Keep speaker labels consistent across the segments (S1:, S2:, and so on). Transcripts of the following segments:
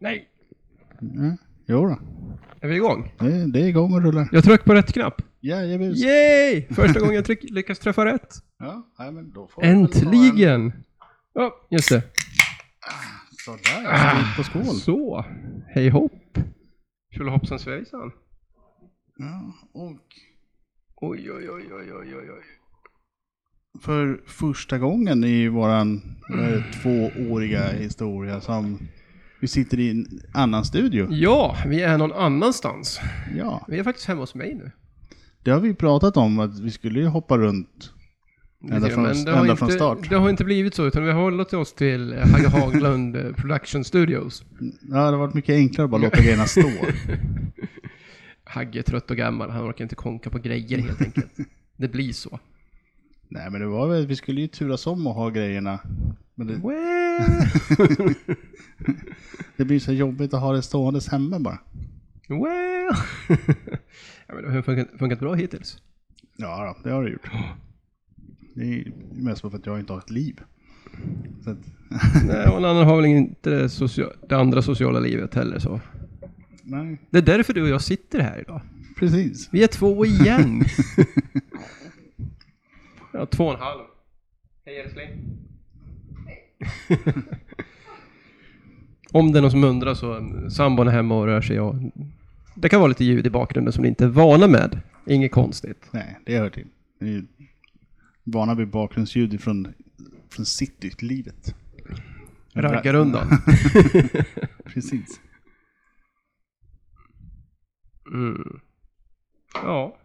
S1: Nej.
S2: Mm. Jo då.
S1: Är vi igång?
S2: Det, det är igång och rullar.
S1: Jag tryckte på rätt knapp.
S2: Jajamens.
S1: Yay! Första gången jag tryck, lyckas träffa rätt.
S2: Ja, nej, men då får vi väl ta En,
S1: Äntligen! Ja, just det.
S2: sådär, ah. på skål.
S1: Så. Hej hopp. Tjolahoppsan svejsan.
S2: Ja, och
S1: Oj, oj, oj, oj, oj, oj, oj.
S2: för första gången i våran eh, tvååriga historia som vi sitter i en annan studio.
S1: Ja, vi är någon annanstans.
S2: Ja,
S1: Vi är faktiskt hemma hos mig nu.
S2: det har vi pratat om att vi skulle ju hoppa runt.
S1: Lite
S2: Ända
S1: grann,
S2: från-
S1: men det har
S2: ända från
S1: inte-
S2: start.
S1: Det har inte blivit så, utan vi har hållit oss till eh, Hagge Haglund eh, Production Studios.
S2: Ja, det har varit mycket enklare att bara låta grejerna stå.
S1: Hagge är trött och gammal, han orkar inte konka på grejer helt enkelt. Det blir så.
S2: Nej, men det var väl, vi skulle ju turas om att ha grejerna. Men det,
S1: Well,
S2: det blir så jobbigt att ha det ståendes hemma bara.
S1: well. ja, men det har funkat, funkat bra hittills.
S2: Ja, då, det har det gjort. Det är ju mest för att jag inte har ett liv. Så att,
S1: Nej, och en annan har väl inte det, socia- det andra sociala livet heller så.
S2: nej,
S1: Det är därför du och jag sitter här idag.
S2: precis.
S1: Vi är två igen. ja, två och en halv. Hej älskling. Om det är någon som undrar så, mm, sambon är hemma och rör sig och det kan vara lite ljud i bakgrunden som ni inte är vana med. Inget konstigt.
S2: Nej, det hör till. Det är ju vana vid bakgrundsljud från, från citylivet.
S1: Raggarundan.
S2: Precis.
S1: Mm. Ja.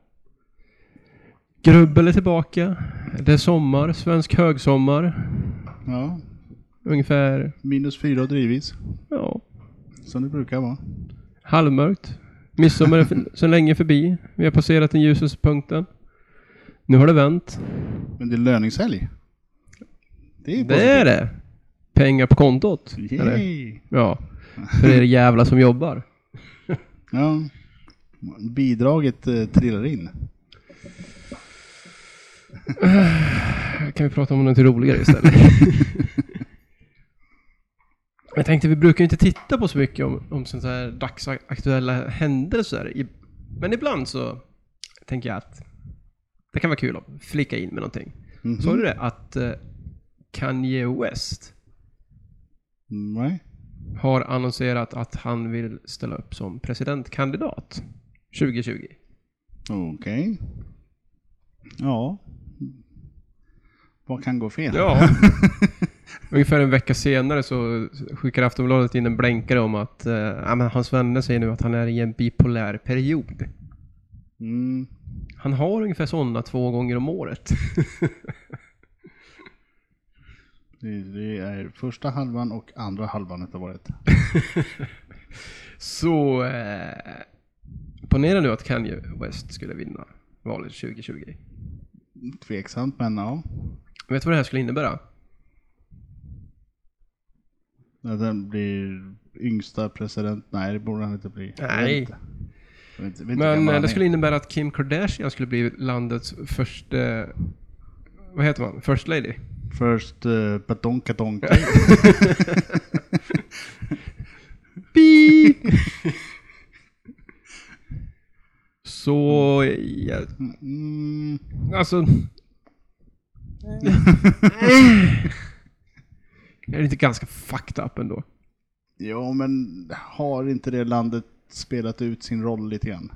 S1: Grubbel är tillbaka. Det är sommar, svensk högsommar.
S2: Ja,
S1: Ungefär,
S2: minus fyra och drivis.
S1: ja,
S2: Som det brukar vara.
S1: halvmörkt. Midsommar är för, så länge förbi. Vi har passerat den ljusaste punkten. Nu har det vänt.
S2: Men det är löningshelg. Det är ju
S1: Det är det! Pengar på kontot.
S2: positivt.
S1: Eller?
S2: Yay.
S1: Ja. För er jävla som jobbar.
S2: Ja. Bidraget eh, trillar in.
S1: Kan vi prata om något roligare istället? Jag tänkte, vi brukar ju inte titta på så mycket om, om sånt här dagsaktuella händelser. I, men ibland så tänker jag att det kan vara kul att flika in med någonting.
S2: Mhm.
S1: Såg du det? Att eh, Kanye West
S2: Mm-hmm. Nej.
S1: har annonserat att han vill ställa upp som presidentkandidat 2020.
S2: Okej. Ja. Vad kan gå fel?
S1: Ja. Ungefär en vecka senare så skickar Aftonbladet in en blänkare om att eh, ja, men hans vänner säger nu att han är i en bipolär period.
S2: Mm.
S1: Han har ungefär sådana två gånger om året.
S2: Det, det är första halvan och andra halvan utav året.
S1: Så eh, ponera nu att Kanye West skulle vinna valet 2020.
S2: Tveksamt men ja.
S1: Vet du vad det här skulle innebära?
S2: Att Den blir yngsta president. Nej det borde han inte bli. Jag vet
S1: Nej.
S2: inte. Jag vet inte- vet inte hur
S1: Men
S2: gammal
S1: eh,
S2: han är.
S1: det skulle innebära att Kim Kardashian skulle bli landets första... Vad heter man? First lady?
S2: Först uh, badonkadonk.
S1: Beep! Så... Ja,
S2: Mm,
S1: alltså... Det är inte ganska fucked up ändå.
S2: ja men har inte det landet spelat ut sin roll lite grann?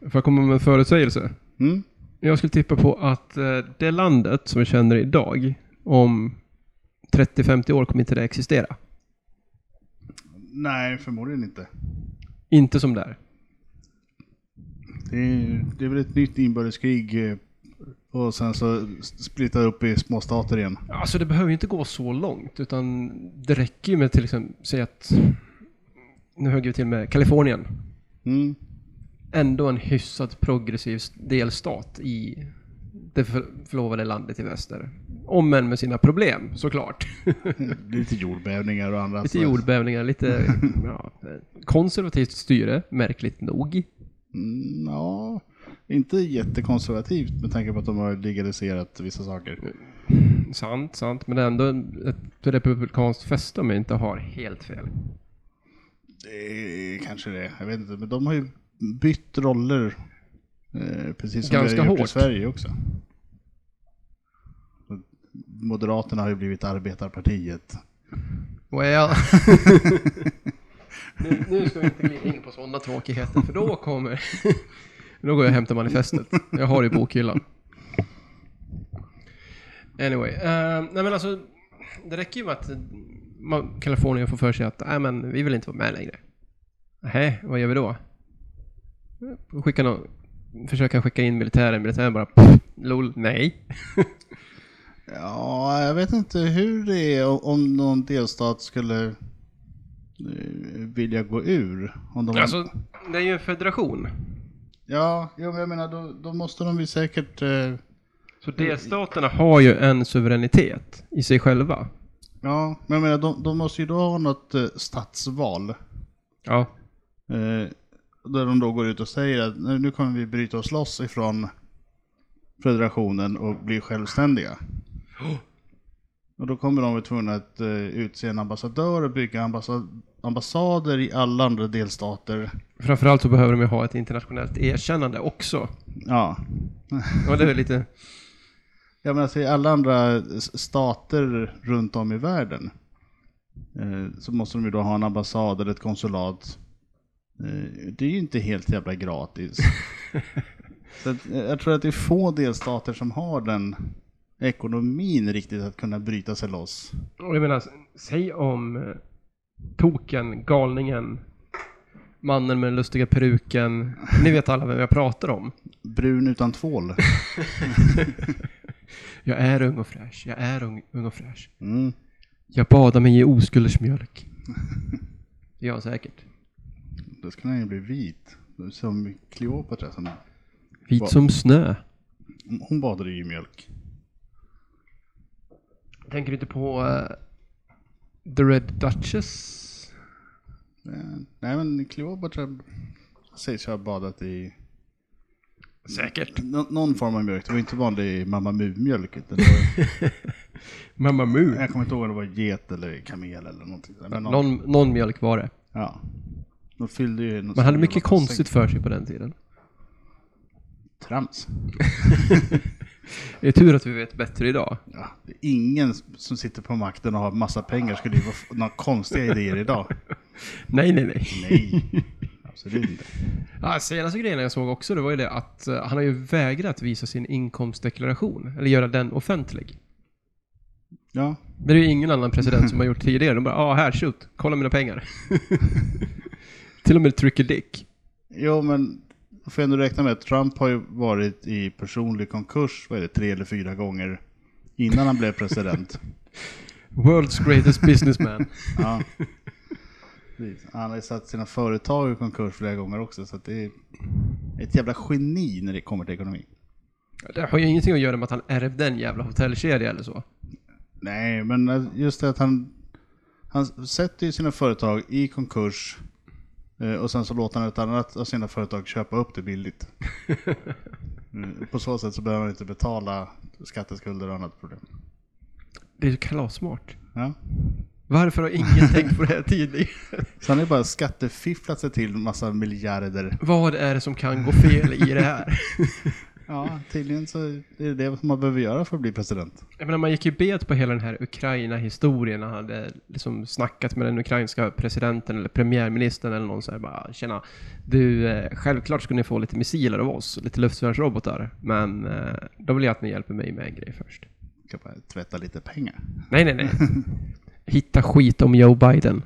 S1: Får jag komma med en förutsägelse?
S2: Mm?
S1: Jag skulle tippa på att eh, det landet som vi känner idag om 30-50 år kommer inte det existera.
S2: Nej förmodligen inte.
S1: Inte som där.
S2: Det är, det är väl ett nytt inbördeskrig eh, och sen så splittar upp i små stater igen.
S1: Alltså det behöver ju inte gå så långt utan det räcker ju med till exempel, säg att nu högg vi till med Kalifornien.
S2: Mm.
S1: Ändå en hyfsat progressiv s- delstat i det för- förlovade landet i väster. Om än med sina problem såklart.
S2: Lite jordbävningar och andra
S1: lite
S2: sådär.
S1: jordbävningar, lite ja, konservativt styre, märkligt nog.
S2: Mm, ja, inte jättekonservativt med tanke på att de har legaliserat vissa saker.
S1: Sant, sant, men ändå en- ett republikanskt fäste om jag inte har helt fel.
S2: Det är kanske det, jag vet inte. Men de har ju bytt roller. Eh, precis som
S1: Ganska
S2: vi har gjort i
S1: hårt.
S2: Sverige också. Moderaterna har ju blivit Arbetarpartiet.
S1: Well. nu, nu ska vi inte glida in på sådana tråkigheter, för då kommer... då går jag och hämtar manifestet. Jag har det i bokhyllan. Anyway. eh, nej men alltså, det räcker ju med att man, Kalifornien får för sig att nej men vi vill inte vara med längre. Nej, vad gör vi då? Skicka någon, försöka skicka in militären, militären bara pff, lol, nej.
S2: Ja, jag vet inte hur det är o- om någon delstat skulle eh, vilja gå ur. Om de
S1: Alltså, det är ju en federation.
S2: Ja, ja, men jag menar då, då måste de ju säkert... Eh,
S1: Så delstaterna har ju en suveränitet i sig själva.
S2: ja, men jag menar de, de måste ju då ha något eh, statsval.
S1: Ja.
S2: Eh, där de då går ut och säger att nu nu kommer vi bryta oss loss ifrån federationen och bli självständiga. Och då kommer de vara tvungna att eh, utse en ambassadör och bygga ambassa- ambassader i alla andra delstater.
S1: Framförallt så behöver de ju ha ett internationellt erkännande också.
S2: Ja.
S1: Och det är lite...
S2: Jag menar, alltså, i alla andra s- stater runt om i världen eh, så måste de ju då ha en ambassad eller ett konsulat. Eh, det är ju inte helt jävla gratis. så att, eh, jag tror att det är få delstater som har den ekonomin riktigt att kunna bryta sig loss.
S1: Och jag menar, säg om eh, token, galningen, mannen med den lustiga peruken. Ni vet alla vem jag pratar om.
S2: Brun utan tvål.
S1: Jag är ung och fräsch, jag är ung, ung och fräsch.
S2: Mm.
S1: Jag badar mig i oskulders mjölk. Det gör han säkert.
S2: Då skulle han ju bli vit. Som Cleopatra. Som,
S1: Vit som snö.
S2: hon badade ju i mjölk.
S1: Tänker du inte på eh, The Red Duchess?
S2: Eh, nej men Cleopatra sägs ju ha badat i
S1: Säkert.
S2: Nå- någon form av mjölk. Det var inte vanlig Mamma Mu-mjölk. utan det var-
S1: Mamma Mu.
S2: Jag kommer inte ihåg om det var get eller kamel eller någonting. sådär, Men någon,
S1: Någon, någon mjölk var det.
S2: Ja. De fyllde ju någon
S1: Man hade
S2: stor
S1: mycket
S2: jävla
S1: konstigt för sig på den tiden.
S2: påse. Trams.
S1: Det är tur att vi vet bättre idag.
S2: Ja, det är ingen som sitter på makten och har massa pengar skulle ju vara f- några konstiga idéer idag.
S1: Nej, nej, nej.
S2: Nej, absolut inte.
S1: Ja, senaste grejen jag såg också, det var ju det att eh, han har ju vägrat visa sin inkomstdeklaration. Eller göra den offentlig.
S2: Ja,
S1: Det är ju ingen annan president som har gjort tidigare. De bara, ah, här, shoot. Kolla mina pengar. Till och med Tricky Dick.
S2: jo men då får jag ändå räkna med att Trump har ju varit i personlig konkurs, vad är det, tre eller fyra gånger innan han blev president.
S1: World's greatest businessman.
S2: Ja. Precis. Liksom. Han har ju satt sina företag i konkurs flera gånger också, så att det är ett jävla geni när det kommer till ekonomi.
S1: Det har ju ingenting att göra med att han ärvde en jävla hotellkedja eller så.
S2: Nej, men just det att han, han sätter ju sina företag i konkurs eh, och sen så låter han ett annat av sina företag köpa upp det billigt. Mm, På så sätt så behöver han inte betala skatteskulder och annat problem.
S1: Det är ju kalassmart.
S2: Ja.
S1: Varför har ingen tänkt på det här tidigare?
S2: Så han har ju bara skattefifflat sig till massa miljarder.
S1: Vad är det som kan gå fel i det här?
S2: Ja, tydligen så är det det som man behöver göra för att bli president.
S1: Jag menar, man gick ju bet på hela den här Ukraina-historien när han hade liksom snackat med den ukrainska presidenten eller premiärministern eller någon så här bara Tjena, du, eh, självklart skulle ni få lite missiler av oss, lite luftvärnsrobotar, men eh, då vill jag att ni hjälper mig med en grej först.
S2: Kan bara tvätta lite pengar.
S1: Nej, nej, nej. Hitta skit om Joe Biden.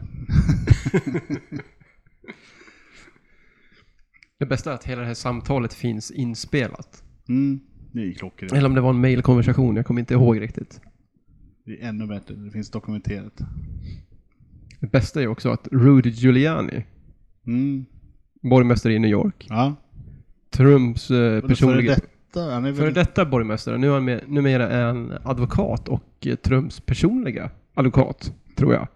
S1: Det bästa är att hela det här samtalet finns inspelat.
S2: Mm, det är ju klockrent.
S1: Eller om det var en mailkonversation, jag kommer inte ihåg riktigt.
S2: Det är ännu bättre, det finns dokumenterat.
S1: Det bästa är också att Rudy Giuliani,
S2: Mm,
S1: borgmästare i New York,
S2: ja.
S1: Trumps eh,
S2: Och då Före
S1: personliga...
S2: detta, han är väl
S1: Före detta borgmästare, nu är han med, numera är han advokat och eh, Trumps personliga advokat, tror jag.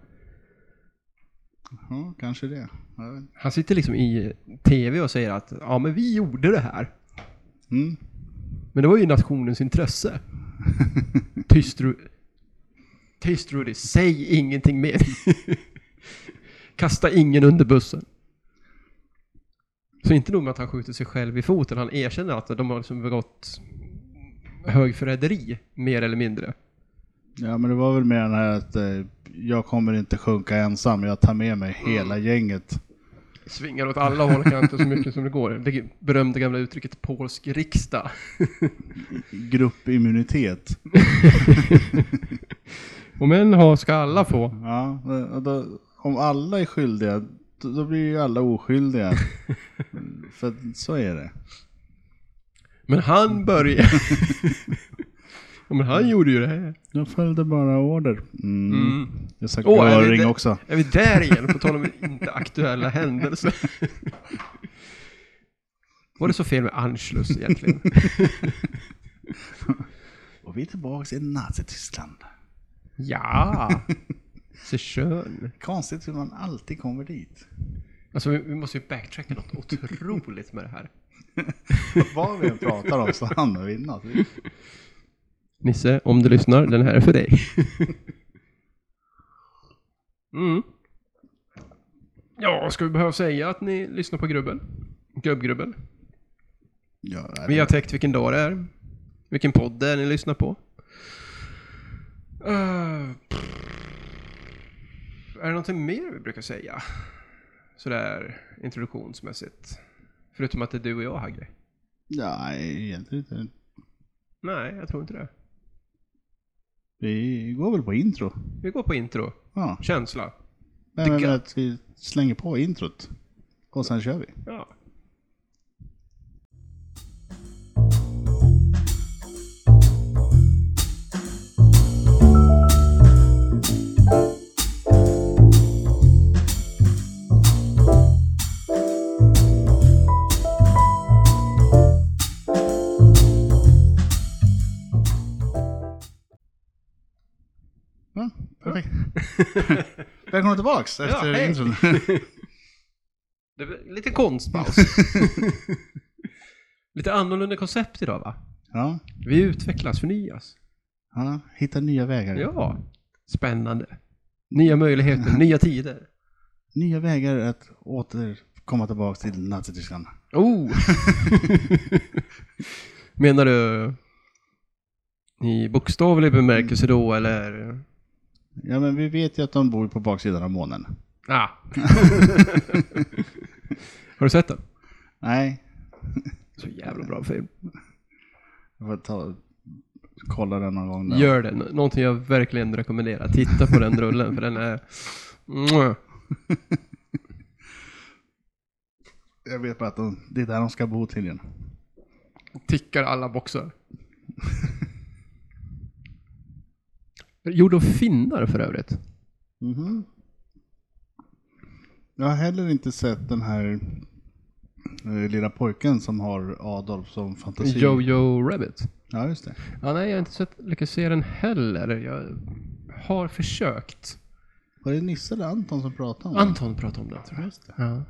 S2: Ja, kanske det. Jag vet inte.
S1: Han sitter liksom i TV och säger att ja, men vi gjorde det här.
S2: Mm.
S1: Men det var ju nationens intresse. Tyst, Ru- Tyst Rudy, säg ingenting mer. Kasta ingen under bussen. Så inte nog med att han skjuter sig själv i foten, han erkänner att de har liksom begått högförräderi, mer eller mindre.
S2: Ja men det var väl mer den här att eh, jag kommer inte sjunka ensam, jag tar med mig
S1: Mm.
S2: hela gänget.
S1: Svingar åt alla håll och kanter så mycket som det går. Det berömda gamla uttrycket polsk riksdag.
S2: Gruppimmunitet.
S1: Om en har ska alla få.
S2: Ja, eh, och då, om alla är skyldiga, då då blir ju alla oskyldiga. Mm, För att så är det.
S1: Men han börjar... ja, men han gjorde ju det här.
S2: Jag följde bara order. Mm.
S1: Mm.
S2: Jag har sagt
S1: Åh, är det
S2: öring
S1: det-
S2: också.
S1: Är vi där igen? På tal om inte aktuella händelser. Var det så fel med Anschluss egentligen?
S2: Och vi är tillbaka i Nazityskland.
S1: ja, så skön.
S2: Konstigt hur man alltid kommer dit.
S1: Alltså vi, vi måste ju backtracka något otroligt med det här.
S2: Vad vi än pratar om så hamnar vi i Nazityskland.
S1: Nisse, om du lyssnar, den här är för dig. mm. Ja, ska vi behöva säga att ni lyssnar på Grubbel? Gubbgrubbel.
S2: Ja, är
S1: Vi
S2: det-
S1: har täckt vilken dag det är, vilken podd det är ni lyssnar på. Eh, är det någonting mer vi brukar säga? Sådär introduktionsmässigt. Förutom att det är du och jag, Hagge.
S2: ja, egentligen inte.
S1: Nej, jag tror inte det.
S2: Vi går väl på intro.
S1: Vi går på intro.
S2: Ja.
S1: Känsla.
S2: Nej, men
S1: Tycker-
S2: att vi slänger på introt. Och sen kör vi.
S1: Ja.
S2: Ja, perfekt. Välkomna tillbaks efter
S1: hej.
S2: intron.
S1: Det var lite konstpaus. lite annorlunda koncept idag, va?
S2: Ja,
S1: Vi utvecklas, förnyas.
S2: ja, hitta nya vägar.
S1: Ja. Spännande. Nya möjligheter, nya tider.
S2: Nya vägar att återkomma tillbaks till Nazityskland.
S1: Oh! Menar du i bokstavlig bemärkelse då, eller?
S2: Ja, men vi vet ju att de bor på baksidan av månen.
S1: Ah. Har du sett den?
S2: Nej,
S1: Så jävla bra film.
S2: jag får ta kolla den någon gång. Där.
S1: Gör den. Någonting jag verkligen rekommenderar. Titta på den rullen, för den är... Mwah.
S2: Jag vet bara att de, det är där de ska bo tydligen.
S1: Tickar alla boxar. Gjord av finnar för övrigt.
S2: Mhm. Jag har heller inte sett den här eh, lilla pojken som har Adolf som fantasi.
S1: Jojo Rabbit.
S2: Ja, just det.
S1: Ja, nej, jag har inte sett, lyckats se den heller. Jag har försökt.
S2: Var det Nisse eller Anton som pratade om det?
S1: Anton pratade om den, tror jag.
S2: Just det.
S1: Ja.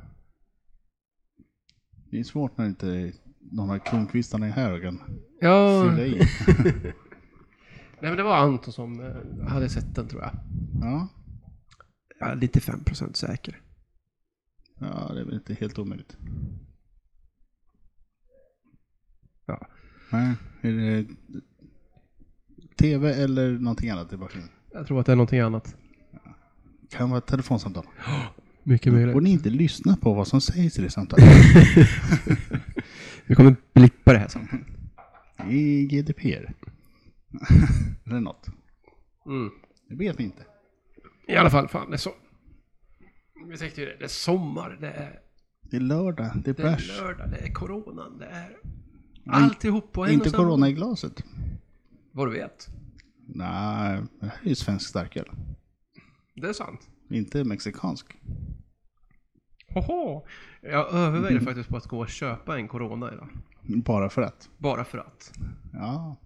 S2: Det är svårt när inte de här kronkvistarna är här och kan
S1: ja
S2: fylla i.
S1: nej, men det var Anton som eh, hade sett den, tror jag.
S2: Ja.
S1: Jag är lite 5% säker.
S2: ja, det är väl inte helt omöjligt.
S1: Ja.
S2: Nej, är det tv eller någonting annat i bakgrunden?
S1: Jag tror att det är någonting annat.
S2: Kan vara ett telefonsamtal.
S1: Mycket
S2: Borde
S1: möjligt.
S2: ni inte lyssna på vad som sägs i det samtalet?
S1: Vi kommer blippa det här sen.
S2: I GDPR. eller något.
S1: Mm.
S2: Det vet ni inte.
S1: I alla fall, fan, det är så... Vi tänkte ju det, det är sommar, det är,
S2: Det är lördag, det är
S1: det är
S2: bärs.
S1: lördag, det är coronan, det är... Alltihop på en
S2: Inte
S1: och samma-
S2: corona i glaset.
S1: Vad du vet.
S2: Nej, men det här är ju svensk starköl.
S1: Det är sant.
S2: Inte mexikansk.
S1: Hoho! Jag överväger faktiskt på att gå och köpa en corona idag.
S2: Bara för att.
S1: Bara för att.
S2: Ja.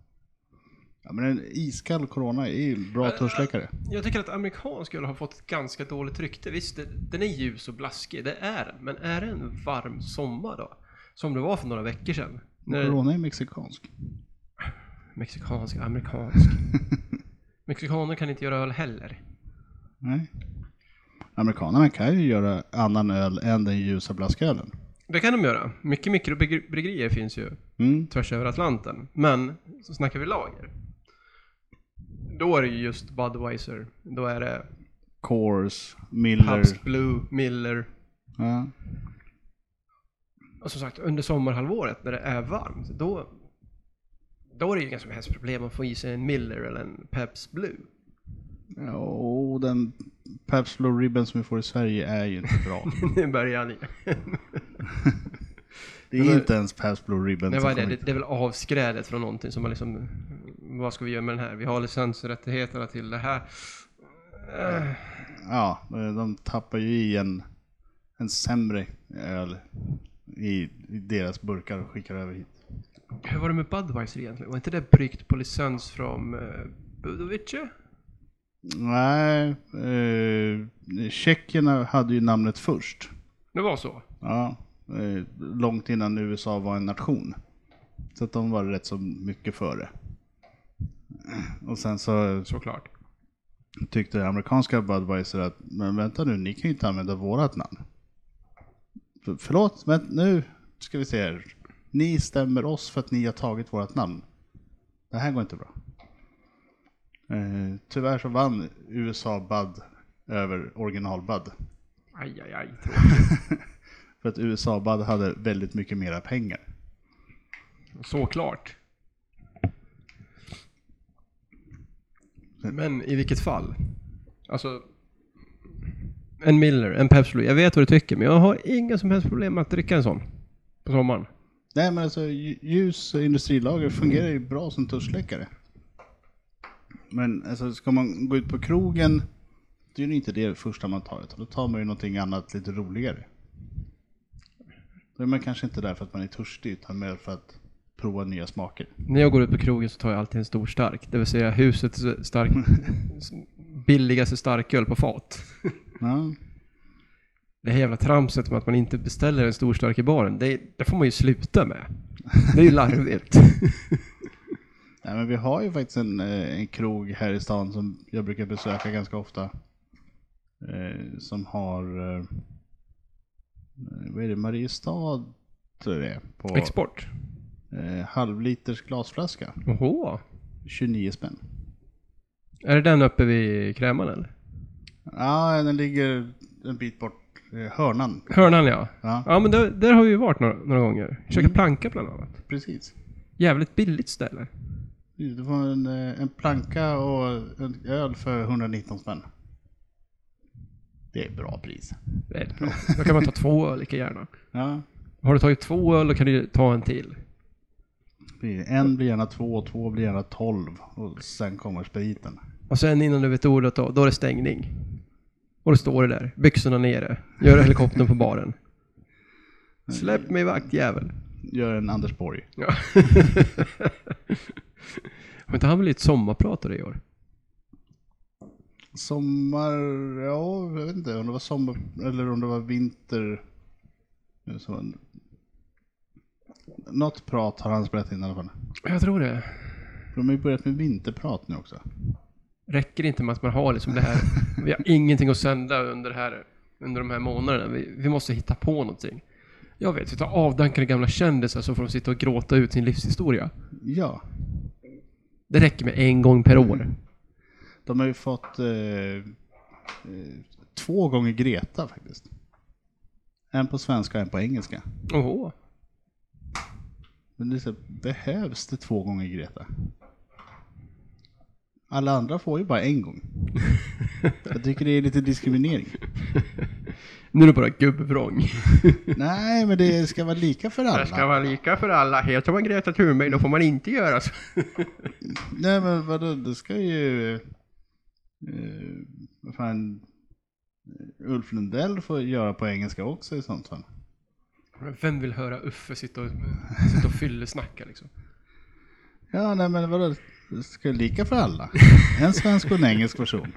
S2: ja men en iskall corona är ju bra törstsläckare.
S1: Jag tycker att amerikansk öl har fått ett ganska dåligt rykte. Visst, det, den är ljus och blaskig, det är den. Men är det en varm sommar då? Som det var för några veckor sedan. När
S2: Corona är mexikansk.
S1: Mexikansk, amerikansk. Mexikaner kan inte göra öl heller.
S2: Nej. Amerikanerna kan ju göra annan öl än den ljusa blaskölen.
S1: Det kan de göra. Mycket mikrobryggerier finns ju
S2: Mm.
S1: tvärs över Atlanten. Men så snackar vi lager. Då är det ju just Budweiser. Då är det
S2: Coors, Miller.
S1: Pabst Blue, Miller.
S2: Ja.
S1: Och som sagt, under sommarhalvåret när det är varmt, då, då är det ju ganska helst problem att få i sig en Miller eller en Pabst Blue.
S2: Ja, och den Pabst Blue Ribbon som vi får i Sverige är ju inte bra.
S1: nu börjar han igen.
S2: Det
S1: Men
S2: är
S1: då-
S2: inte ens Pabst Blue Ribbon.
S1: Men
S2: som
S1: vad är det? det?
S2: kommer hit.
S1: Det är väl avskrädet från någonting som man liksom... Vad ska vi göra med den här? Vi har licensrättigheterna till det här. Eh,
S2: Ja, eh, de tappar ju i en, en sämre öl i, i deras burkar och skickar över hit.
S1: Hur var det med Budweiser egentligen? Var inte det bryggt på licens från eh, Budovice?
S2: Nej, eh, tjeckerna hade ju namnet först.
S1: Det var så?
S2: Ja, eh, långt innan USA var en nation. Så att de var rätt så mycket före. Och sen så
S1: Såklart.
S2: tyckte amerikanska Budweiser att, men vänta nu, ni kan ju inte använda vårat namn. För, förlåt, men nu ska vi se här. Ni stämmer oss för att ni har tagit vårat namn. Det här går inte bra. Eh, tyvärr så vann USA Bud över original Bud.
S1: Aj, aj, aj.
S2: För att USA Bud hade väldigt mycket mera pengar.
S1: Såklart. Men i vilket fall? Alltså... En Miller, en Pepsi Blue. Jag vet vad du tycker, men jag har inga som helst problem med att dricka en sån. På sommaren.
S2: Nej men alltså lj- ljus och industrilager fungerar ju bra som törstsläckare. Men alltså ska man gå ut på krogen, då är det inte det första man tar utan då tar man ju någonting annat lite roligare. Då är man kanske inte där för att man är törstig utan mer för att prova nya smaker.
S1: När jag går ut på krogen så tar jag alltid en stor stark. Det vill säga husets stark... billigaste starköl på fat.
S2: Ja,
S1: det här jävla tramset med att man inte beställer en stor stark i baren, det, det får man ju sluta med. Det är ju larvigt.
S2: Nej, men vi har ju faktiskt en, eh, en krog här i stan som jag brukar besöka ganska ofta. Eh, som har, eh, vad är det, Mariestad tror jag det är. På,
S1: Export.
S2: Eh, halvliters glasflaska,
S1: Oho.
S2: 29 spänn.
S1: Är det den uppe vid kräman eller?
S2: Ja, den ligger en bit bort, eh, hörnan.
S1: Hörnan ja.
S2: Ja,
S1: Ja men där, där har vi ju varit några, några gånger. Käkat planka bland annat.
S2: precis.
S1: Jävligt billigt ställe.
S2: Det var en, eh, en planka och en öl för 119 spänn. Det är bra pris.
S1: Det är bra. Då kan man ta två öl lika gärna.
S2: Ja,
S1: Har du tagit två öl då kan du ju ta en till.
S2: blir- en blir gärna två, två blir gärna tolv och sen kommer spriten.
S1: Och sen innan du vet ordet då, då är det stängning. Och då står det där, byxorna nere. Gör helikoptern på baren. Släpp mig vaktjävel.
S2: Gör en Anders Borg.
S1: Ja. Har inte han blivit sommarpratare i år?
S2: Sommar, ja, jag vet inte om det var sommar eller om det var vinter. Nu så var det- Något prat har han spelat in i alla fall.
S1: Jag tror det.
S2: De har ju börjat med vinterprat nu också.
S1: Räcker det inte med att man har liksom det här, vi har ingenting att sända under, det här, under de här månaderna. Vi, vi måste hitta på någonting. Jag vet, vi tar avdankade gamla kändisar så får de sitta och gråta ut sin livshistoria.
S2: Ja,
S1: Det räcker med en gång per år.
S2: de har ju fått eh, eh, två gånger Greta faktiskt. En på svenska och en på engelska.
S1: Oho.
S2: Men det är så, här, behövs det två gånger Greta? Alla andra får ju bara en gång. Jag tycker det är lite diskriminering.
S1: Nu är det bara gubbvrång.
S2: Nej, men det ska vara lika för alla.
S1: vara lika för alla. Heter man Greta Thunberg då får man inte göra så.
S2: Nej men vadå, det ska ju... eh, Vad fan, eh, Ulf Lundell får göra på engelska också i sånt fall.
S1: Men vem vill höra Uffe sitta och, sitta och fyllesnacka liksom?
S2: Ja, nej men vadå, det ska ju lika för alla. En svensk och en engelsk version.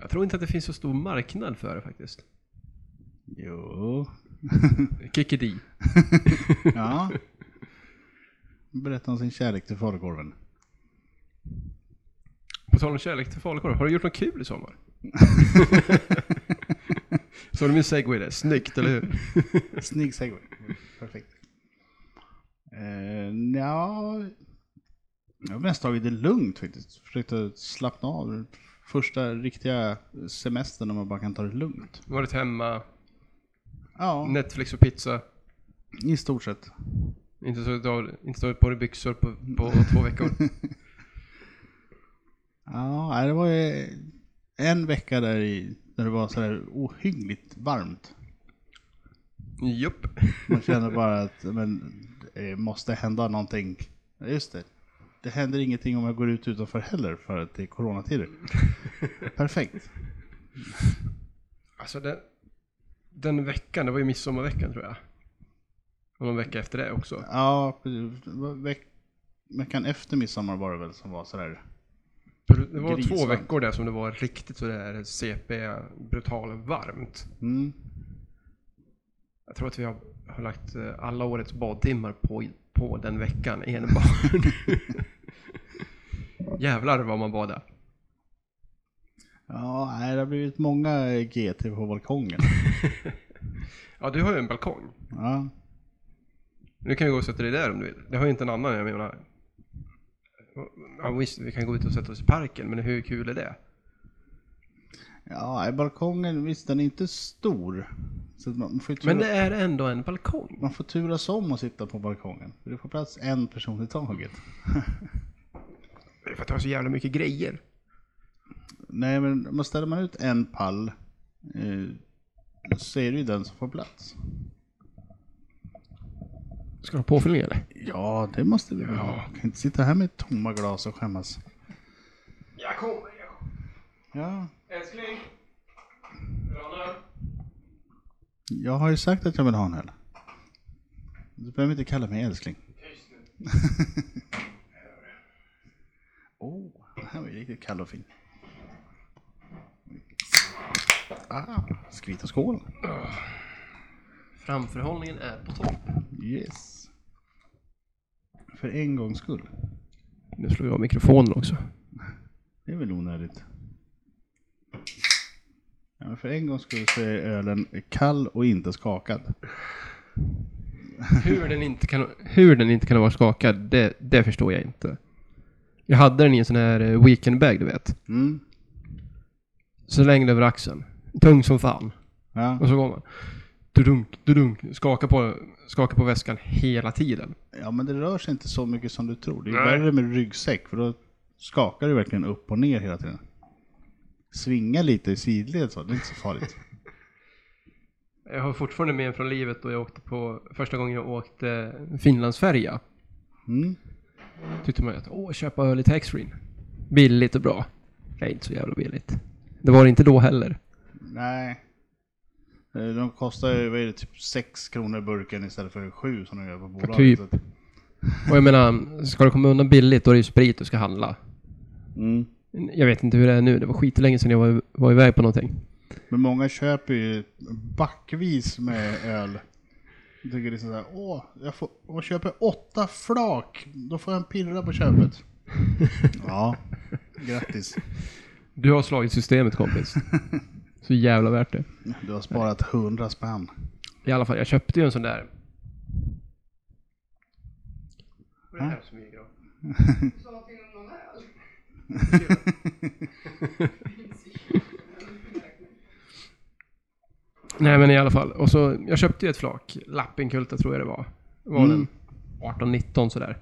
S1: Jag tror inte att det finns så stor marknad för det faktiskt.
S2: Jo.
S1: Kikidi.
S2: Ja. Berätta om sin kärlek till falukorven.
S1: På tal om kärlek till falukorv, har du gjort något kul i sommar? Så du min segway där? Snyggt, eller hur?
S2: Snygg segway. Perfekt. Uh, ja, jag har mest tagit det lugnt faktiskt. Försökte slappna av. Första riktiga semestern när man bara kan ta det lugnt.
S1: Varit hemma,
S2: Ja,
S1: Netflix och pizza.
S2: i stort sett.
S1: Inte så idag, inte tagit på dig byxor på, på två veckor.
S2: Ja, nej, det var ju en vecka där i, när det var sådär ohyggligt varmt.
S1: Jupp.
S2: Man känner bara att men, det måste hända någonting. Ja, Just det. Det händer ingenting om jag går ut utanför heller för att det är coronatider. Perfekt.
S1: Alltså den, den veckan, det var ju midsommarveckan tror jag. Och någon vecka efter det också.
S2: Ja, precis. Det var veck, veckan efter midsommar var det väl som var sådär.
S1: Det var två
S2: Grisvarmt.
S1: veckor där som det var riktigt sådär CP, brutal varmt.
S2: Mm.
S1: Jag tror att vi har, har lagt eh, alla årets badtimmar på, på den veckan enbart. Jävlar vad man badade.
S2: Ja, nej, det har blivit många GT på balkongen.
S1: Ja, du har ju en balkong.
S2: Ja,
S1: Nu kan vi gå och sätta dig där om du vill. Det har ju inte en annan, jag menar. Ja, visst, vi kan gå ut och sätta oss i parken, men hur kul är det?
S2: ja nej, balkongen, visst den är inte stor. Så att man får ju
S1: Men
S2: tura-
S1: det är ändå en balkong.
S2: Man får turas om att sitta på balkongen. För du får plats en person i taget.
S1: Det är för att det har så jävla mycket grejer.
S2: Nej, men man ställer man ut en pall eh, så är det ju den som får plats.
S1: Ska du ha påfyllning eller?
S2: Ja, det måste vi väl ha. Kan inte sitta här med tomma glas och skämmas.
S1: Jag kommer, jag kommer.
S2: Ja,
S1: Älskling! Vill du ha en öl?
S2: jag har ju sagt att jag vill ha en öl. Du behöver inte kalla mig älskling.
S1: Tyst nu.
S2: Åh, oh, den här var ju riktigt kall och fin. Ah, skvitt och skål.
S1: Framförhållningen är på topp.
S2: Yes. För en gångs skull.
S1: Nu slår jag av mikrofonen också.
S2: Det är väl onödigt. Ja, men för en gångs skull så är ölen kall och inte skakad.
S1: Hur den inte kan, hur den inte kan vara skakad, det, det förstår jag inte. Jag hade den i en sån här eh, weekendbag, du vet.
S2: Mm.
S1: Så längre över axeln. Tung som fan.
S2: Ja.
S1: Och så går man. Dudunk, dudunk. Skaka på, skaka på väskan hela tiden.
S2: ja, men det rör sig inte så mycket som du tror. Det är
S1: Nej.
S2: värre med ryggsäck för då skakar du verkligen upp och ner hela tiden. Svinga lite i sidled så, det är inte så farligt.
S1: Jag har fortfarande med en från livet då jag åkte på första gången jag åkte Finlandsfärja.
S2: Mm.
S1: Tyckte man ju att åh, köpa öl i taxfree. Billigt och bra. Nej, inte så jävla billigt. Det var det inte då heller.
S2: Nej. Eh, De kostar ju, vad är det, typ 6 kronor burken istället för 7 som de gör på bolaget.
S1: typ.
S2: så att-
S1: Och jag menar, ska du komma undan billigt då är det ju sprit du ska handla.
S2: Mm.
S1: Jag vet inte hur det är nu, det var skitlänge sedan jag var, var iväg på någonting.
S2: Men många köper ju backvis med öl. Jag tycker det är sådär, åh, jag får, om jag köper åtta flak, då får jag en pirra på köpet. ja, grattis.
S1: Du har slagit systemet kompis. Så jävla värt det.
S2: Du har sparat 100 spänn.
S1: I alla fall, jag köpte ju en sån där. Vad är det här som är
S3: Sa till om någon öl?
S1: Nej men i alla fall. Och så, jag köpte ju ett flak. Lappinkulta tror jag det var. Var
S2: Mm.
S1: den 18-19 sådär.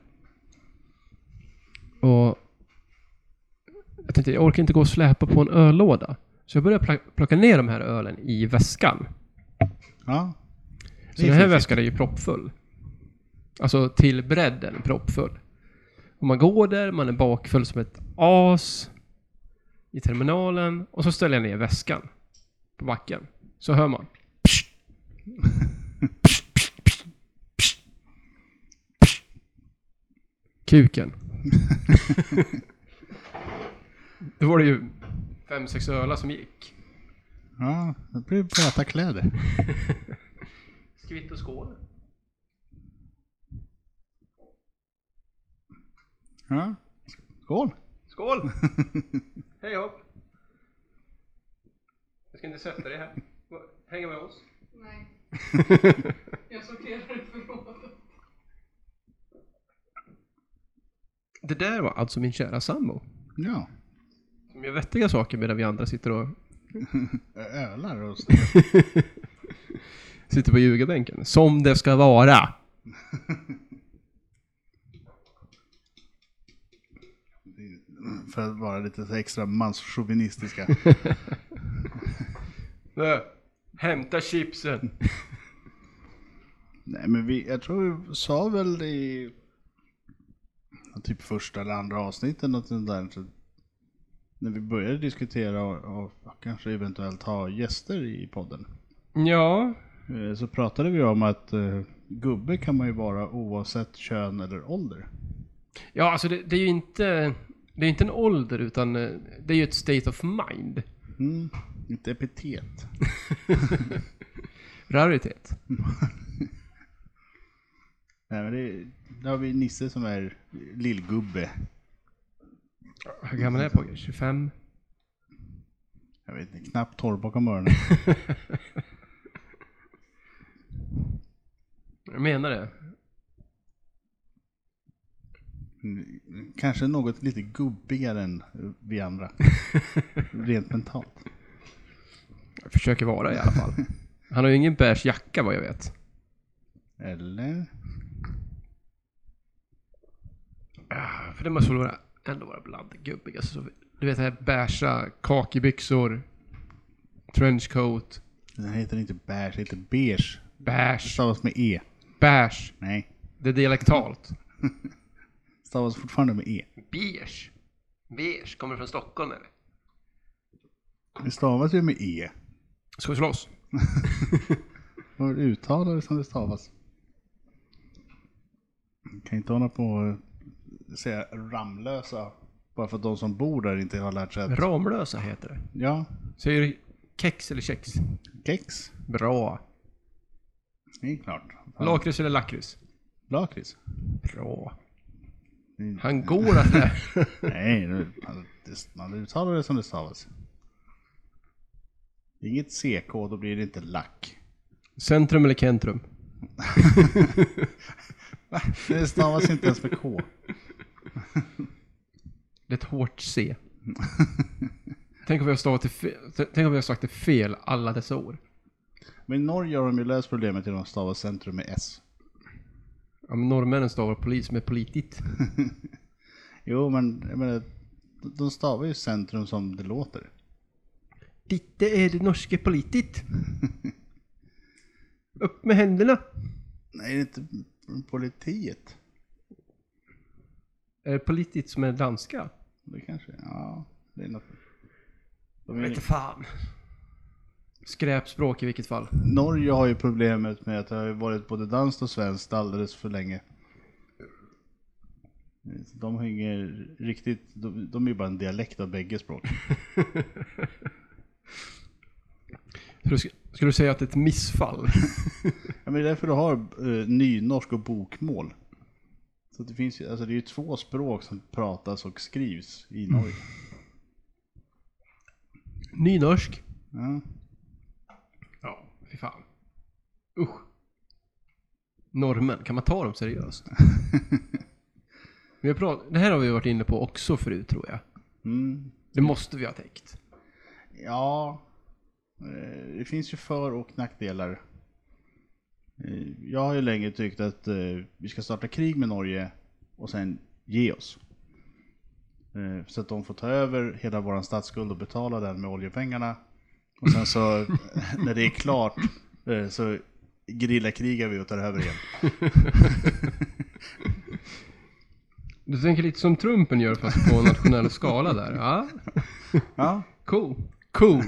S1: Och jag tänkte, jag orkar inte gå och släpa på en öllåda. Så jag började pla- plocka ner de här ölen i väskan.
S2: Ja.
S1: Så
S2: Det är
S1: den här
S2: fint.
S1: väskan är ju proppfull. Alltså till bredden proppfull. Och man går där, man är bakfull som ett as i terminalen och så ställer jag ner väskan på backen. Så hör man. Kuken. Då var det ju fem, sex ölar som gick.
S2: Ja, det blir blöta kläder.
S1: Skvitt och skål.
S2: Ja. Skål!
S1: Skål! Hej hopp! Jag ska inte sätta dig här. Hänga med oss.
S3: Nej, jag sorterar i förrådet.
S1: det där var alltså min kära sambo.
S2: Ja,
S1: Som gör vettiga saker medan vi andra sitter och
S2: Ö- ölar och så.
S1: sitter på ljugarbänken. Som det ska vara!
S2: För att vara lite så här extra manschauvinistiska.
S1: Nu, hämta chipsen!
S2: Nej men vi, jag tror vi sa väl i ja, typ första eller andra avsnittet något sånt där. Så när vi började diskutera och, och kanske eventuellt ha gäster i podden.
S1: Ja,
S2: eh, Så pratade vi om att eh, gubbe kan man ju vara oavsett kön eller ålder.
S1: ja alltså det, det är ju inte... Det är inte en ålder utan eh, det är ju ett state of mind.
S2: Mm. Ett epitet.
S1: Raritet.
S2: Nej, men det, där har vi Nisse som är lillgubbe.
S1: Hur gammal är pojken? 25?
S2: Jag vet inte, knappt torr bakom öronen.
S1: Jag menar det.
S2: Mm, Kanske något lite gubbigare än vi andra. Rent mentalt.
S1: Jag försöker vara i alla fall. Han har ju ingen beige jacka vad jag vet.
S2: Eller?
S1: Ah, För det måste väl vara ändå vara bland det gubbigaste. som- Du vet det här beigea, kakibyxor, trenchcoat,
S2: Den här heter inte beige, den heter beige. Det
S1: beige,
S2: stavas med e.
S1: beige.
S2: Nej,
S1: Det är dialektalt.
S2: stavas fortfarande med e.
S1: Beige. Beige. Kommer du från Stockholm eller?
S2: Det stavas ju med e.
S1: Ska vi slåss?
S2: Man uttalar det som det stavas. Man kan inte hålla på och säga Ramlösa bara för att de som bor där inte har lärt sig att...
S1: Ramlösa heter det.
S2: Ja,
S1: Säger du kex eller kex?
S2: kex.
S1: Bra.
S2: Det är klart. Fan,
S1: Lakrits eller lakrits?
S2: Lakrits.
S1: Bra.
S2: Mm.
S1: Han går att lära.
S2: Nej, det- man- det- man uttalar det som det stavas. Det är Inget CK, då blir det inte lack.
S1: Centrum eller kentrum?
S2: Det stavas inte ens med K.
S1: Det är ett hårt C. Tänk om vi har, stavat det fel, tänk om vi har sagt det fel alla dessa år.
S2: Men i Norge har de ju löst problemet genom att stava centrum med S.
S1: Ja, men norrmännen stavar polis med politit.
S2: Jo, men jag menar, de- de stavar ju centrum som det låter.
S1: Ditte är det norske politit. Upp med händerna.
S2: Nej, det är inte politiet.
S1: Är det politit som är danska?
S2: Det kanske, ja, det är något. De
S1: Jag
S2: är,
S1: vet fan. Skräpspråk i vilket fall.
S2: Norge har ju problemet med att det har ju varit både danskt och svenskt alldeles för länge. De hänger riktigt, de, de är ju bara en dialekt av bägge språk.
S1: Så du sk- Skulle du säga att det är ett missfall?
S2: Ja, men det är därför du har eh, nynorsk och bokmål. Så det finns ju, alltså det är ju två språk som pratas och skrivs i Norge.
S1: Nynorsk?
S2: Ja.
S1: Ja, fy fan. Usch. Normen, kan man ta dem seriöst? Vi har prat- det här har vi varit inne på också förut tror jag.
S2: Mm.
S1: Det måste vi ha täckt.
S2: Ja, eh, det finns ju för och nackdelar. Eh, Jag har ju länge tyckt att eh, vi ska starta krig med Norge och sen ge oss. Eh, Så att de får ta över hela vår statsskuld och betala den med oljepengarna. Och sen så när det är klart eh, så grillakrigar vi och tar över igen.
S1: Du tänker lite som Trumpen gör fast på nationell skala där. Ja,
S2: Ja,
S1: cool. Cool.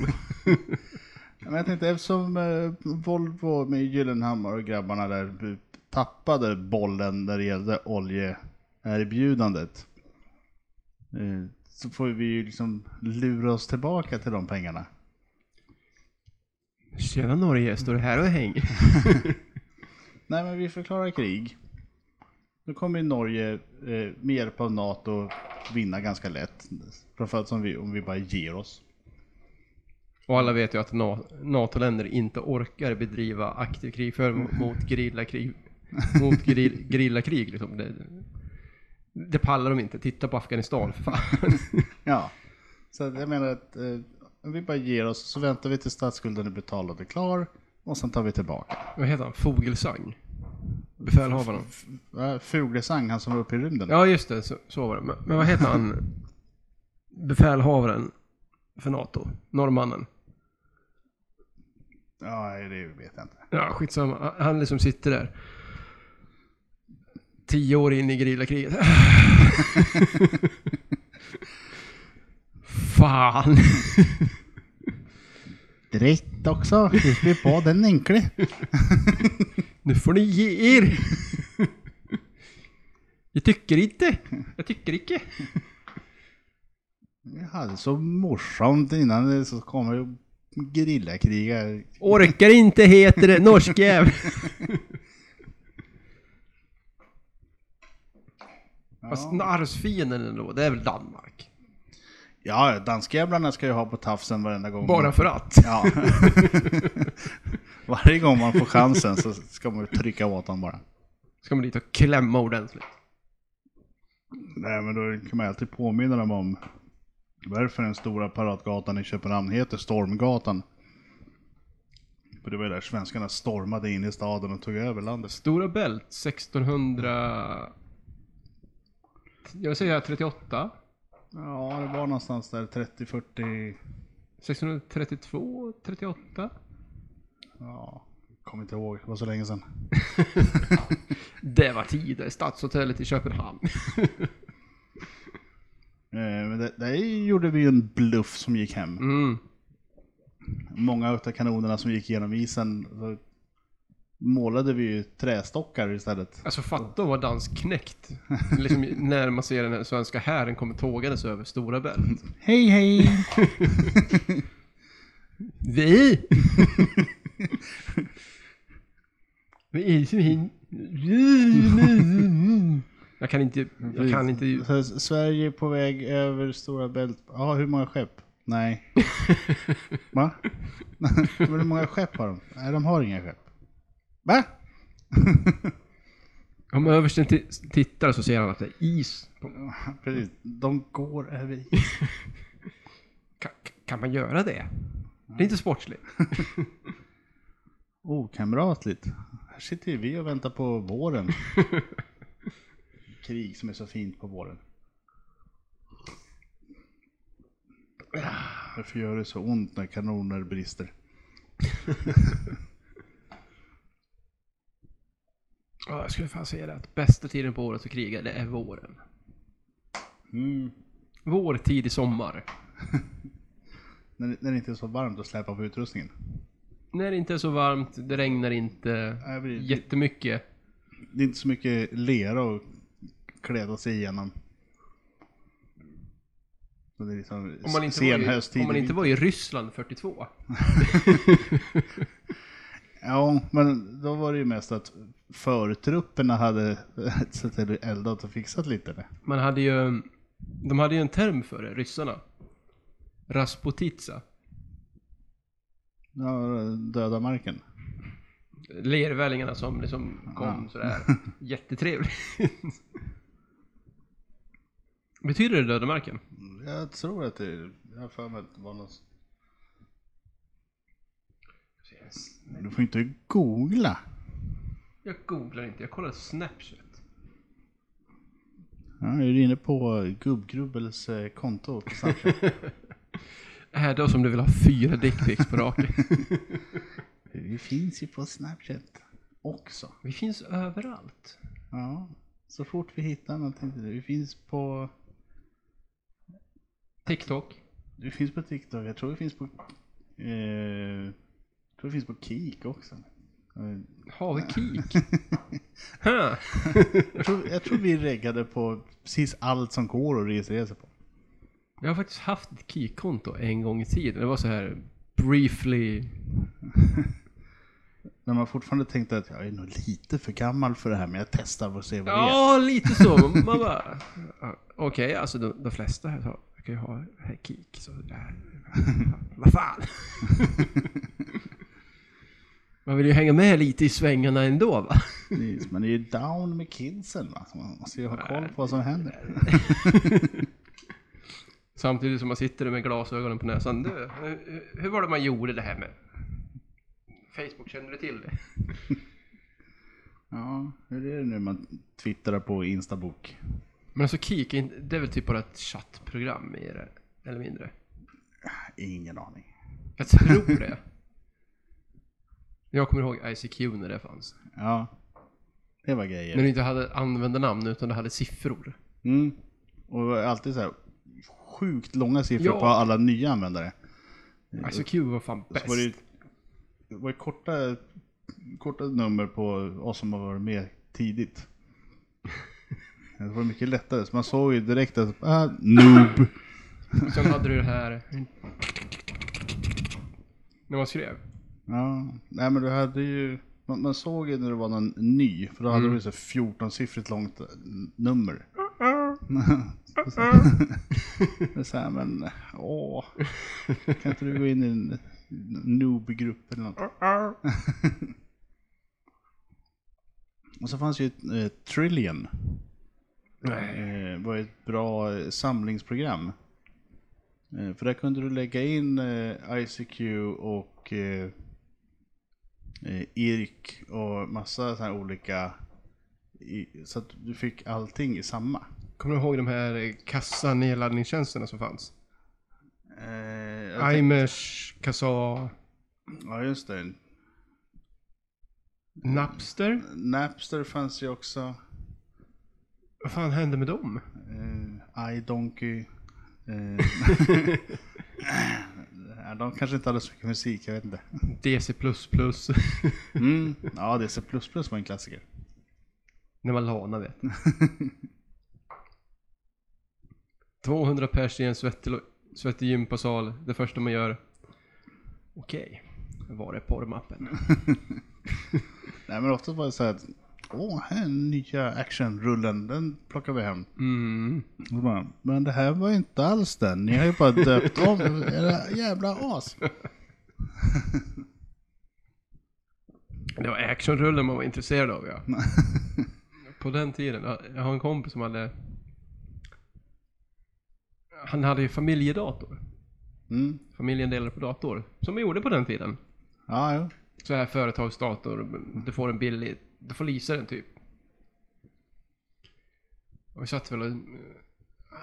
S2: men jag tänkte eftersom eh, Volvo med Gyllenhammar och grabbarna där b- tappade bollen när det gällde oljeerbjudandet. eh, Så får vi ju liksom lura oss tillbaka till de pengarna.
S1: Tjena Norge, står du här och hänger?
S2: Nej men vi förklarar krig. Då kommer ju Norge eh, med hjälp av NATO vinna ganska lätt. Framförallt som vi, om vi bara ger oss.
S1: Och alla vet ju att Na- NATO-länder inte orkar bedriva aktiv krigföring mot- mot gerillakrig. Mot geri- gerillakrig liksom. Det, det pallar de inte. Titta på Afghanistan för fan.
S2: Ja, så att jag menar att eh, om vi bara ger oss så väntar vi till statsskulden är betald och klar och sen tar vi tillbaka.
S1: Vad heter han? Fogelsang? Befälhavaren?
S2: Va? Fuglesang, han som var uppe i rymden.
S1: Ja just det, så, så var det. Men, men vad heter han? Befälhavaren för NATO? Norrmannen?
S2: Ja, det vet jag inte.
S1: Ja, skitsamma. Han liksom sitter där. Tio år in i gerillakriget. Fan!
S2: Dritt också, gick vi på den enkle.
S1: Nu får ni ge er! Jag tycker inte. Jag tycker icke.
S2: Jag hade så morsomt innan det så kommer ju grillakrigare.
S1: Orkar inte heter det. Norskjävel. Fast
S2: Ja,
S1: arvsfienden ändå, det är väl Danmark?
S2: ja danskjävlarna ska ju ha på tafsen varenda gång.
S1: Bara
S2: man-
S1: för att.
S2: Ja. Varje gång man får chansen så ska man ju trycka åt dem bara.
S1: Ska man dit och klämma ordentligt.
S2: Nej, men då kan man alltid påminna dem om varför den stora paradgatan i Köpenhamn heter Stormgatan. För det var ju där svenskarna stormade in i staden och tog över landet.
S1: Stora Bält 1600... Jag säger 38.
S2: Ja, det var någonstans där 30-40,
S1: 1632, 38.
S2: ja, kommer inte ihåg, det var så länge sedan.
S1: Det var tider. Stadshotellet i Köpenhamn.
S2: Eh, Men det- där gjorde vi ju en bluff som gick hem.
S1: Mm.
S2: Många av kanonerna som gick genom isen så målade vi ju trästockar istället.
S1: Alltså fatta att vara dansknäckt. Liksom när man ser den här svenska hären kommer tågandes över Stora Bält.
S2: Hej hej!
S1: Vi! Vi är så hin... Jag kan inte... Jag kan inte...
S2: Så Sverige är på väg över Stora Bält. Ja, hur många skepp? Nej. Va? Men hur många skepp har de? Nej, de har inga skepp. Va?
S1: Om översten t- tittar så ser han att det är is. På...
S2: Precis. De går över is.
S1: Kan, kan man göra det? Det är inte sportsligt.
S2: Okamratligt. Här sitter ju vi och väntar på våren. Krig som är så fint på våren. Varför gör det så ont när kanoner brister?
S1: Ja, jag skulle fan säga det att bästa tiden på året att kriga, det är våren.
S2: Mm.
S1: Vår, tidig sommar.
S2: När, när det inte är så varmt att släpa på utrustningen.
S1: När det inte är så varmt, det regnar inte
S2: Nej, det-
S1: jättemycket.
S2: Det är inte så mycket lera att kläda sig igenom. Så Det är liksom
S1: Om man inte,
S2: sen
S1: var,
S2: höst,
S1: i, om man
S2: tidig
S1: inte
S2: vinter.
S1: var i Ryssland 42.
S2: Ja, men då var det ju mest att förtrupperna hade sett till att eldat och fixat lite. Det.
S1: Man hade ju... De hade ju en term för det, ryssarna. Rasputitsa.
S2: Ja, döda marken.
S1: Lervällingarna som liksom kom
S2: Ja.
S1: sådär. Jättetrevligt. Betyder det döda marken?
S2: Jag tror att det, jag har för mig att det var något. Du får inte googla.
S1: Jag googlar inte, jag kollar Snapchat.
S2: Ja, är du inne på gubbgrubbels eh, konto på Snapchat?
S1: Är det som du vill ha fyra dickpics på raken?
S2: Vi finns ju på Snapchat också.
S1: Vi finns överallt.
S2: Ja, så fort vi hittar någonting till det. Vi finns på,
S1: TikTok.
S2: vi finns på TikTok, jag tror vi finns på, eh, jag tror vi finns på Kik också. Eh,
S1: Har vi Kik? Huh.
S2: Jag tror, jag tror vi reggade på precis allt som går att registrera sig på.
S1: Jag har faktiskt haft ett Kik-konto en gång i tiden. Det var så här briefly...
S2: När man fortfarande tänkte att jag är nog lite för gammal för det här, men jag testar och ser vad det är.
S1: Ja, lite så. Man bara... Okej, alltså de, de flesta här har- verkar ju ha här Kik. Så det här Vad fan? Man vill ju hänga med lite i svängarna ändå va?
S2: Precis, Man är ju down med kidsen va. Så man måste ju ha koll på vad som händer.
S1: Samtidigt som man sitter där med glasögonen på näsan. Du, hur, hur var det man gjorde det här med? Facebook, känner du till det?
S2: Ja, hur är det nu man twittrar på Instabook?
S1: Men alltså Kik, är inte- det är väl typ bara ett chattprogram i det, eller mindre?
S2: Ingen aning.
S1: Jag tror det. Jag kommer ihåg ICQ när det fanns.
S2: Ja, det var
S1: När
S2: grejer.
S1: du inte hade användarnamn utan du hade siffror.
S2: Mm. Och det var alltid så här sjukt långa siffror
S1: Ja.
S2: på alla nya användare.
S1: ICQ Alltså, var fan
S2: Mm, Så var det,
S1: bäst.
S2: ju- det var ju korta, korta nummer på oss som har varit med tidigt. Det var mycket lättare, så man såg ju direkt att ah, noob.
S1: Sen hade du det här... När man skrev.
S2: Ja, nej men du hade ju, man, man såg ju när det var någon ny, för då hade du så 14-siffrigt långt eh, nummer. Och så- det är så här, men åh, kan inte du gå in i en noob-grupp eller
S1: Mm.
S2: något? Och så fanns ju ett eh, Trillion. Eh, var ett bra eh, samlingsprogram. Eh, för där kunde du lägga in eh, ICQ och eh, eh, IRK och massa så här olika. I, så att du fick allting i samma.
S1: Kommer du ihåg de här kassanedladdningstjänsterna som fanns?
S2: Eh, jag tänk-
S1: Imers, Kassa,
S2: ja just det.
S1: Napster?
S2: Napster fanns ju också.
S1: Vad fan hände med dem?
S2: Eh, iDonkey. Eh, nej, de kanske inte hade så mycket musik, jag vet inte.
S1: DC++.
S2: Mm. Ja, DC++ var en klassiker.
S1: När man lana vet. 200 pers i en svettig, svettig gympasal. Det första man gör. Okej. Var är porrmappen?
S2: Nej men ofta var det så här att Åh, här är den nya actionrullen, den plockar vi hem.
S1: Mm.
S2: Och så bara, men det här var ju inte alls den, ni har ju bara döpt om era jävla as.
S1: Det var actionrullen man var intresserad av ja. På den tiden. jag- Jag har en kompis som hade... Han hade ju familjedator.
S2: Mm.
S1: Familjen delade på dator. Som vi gjorde på den tiden.
S2: Ja, jo.
S1: så här företagsdator, du får en billig, du får leasa den typ. Och vi satt väl och, eh,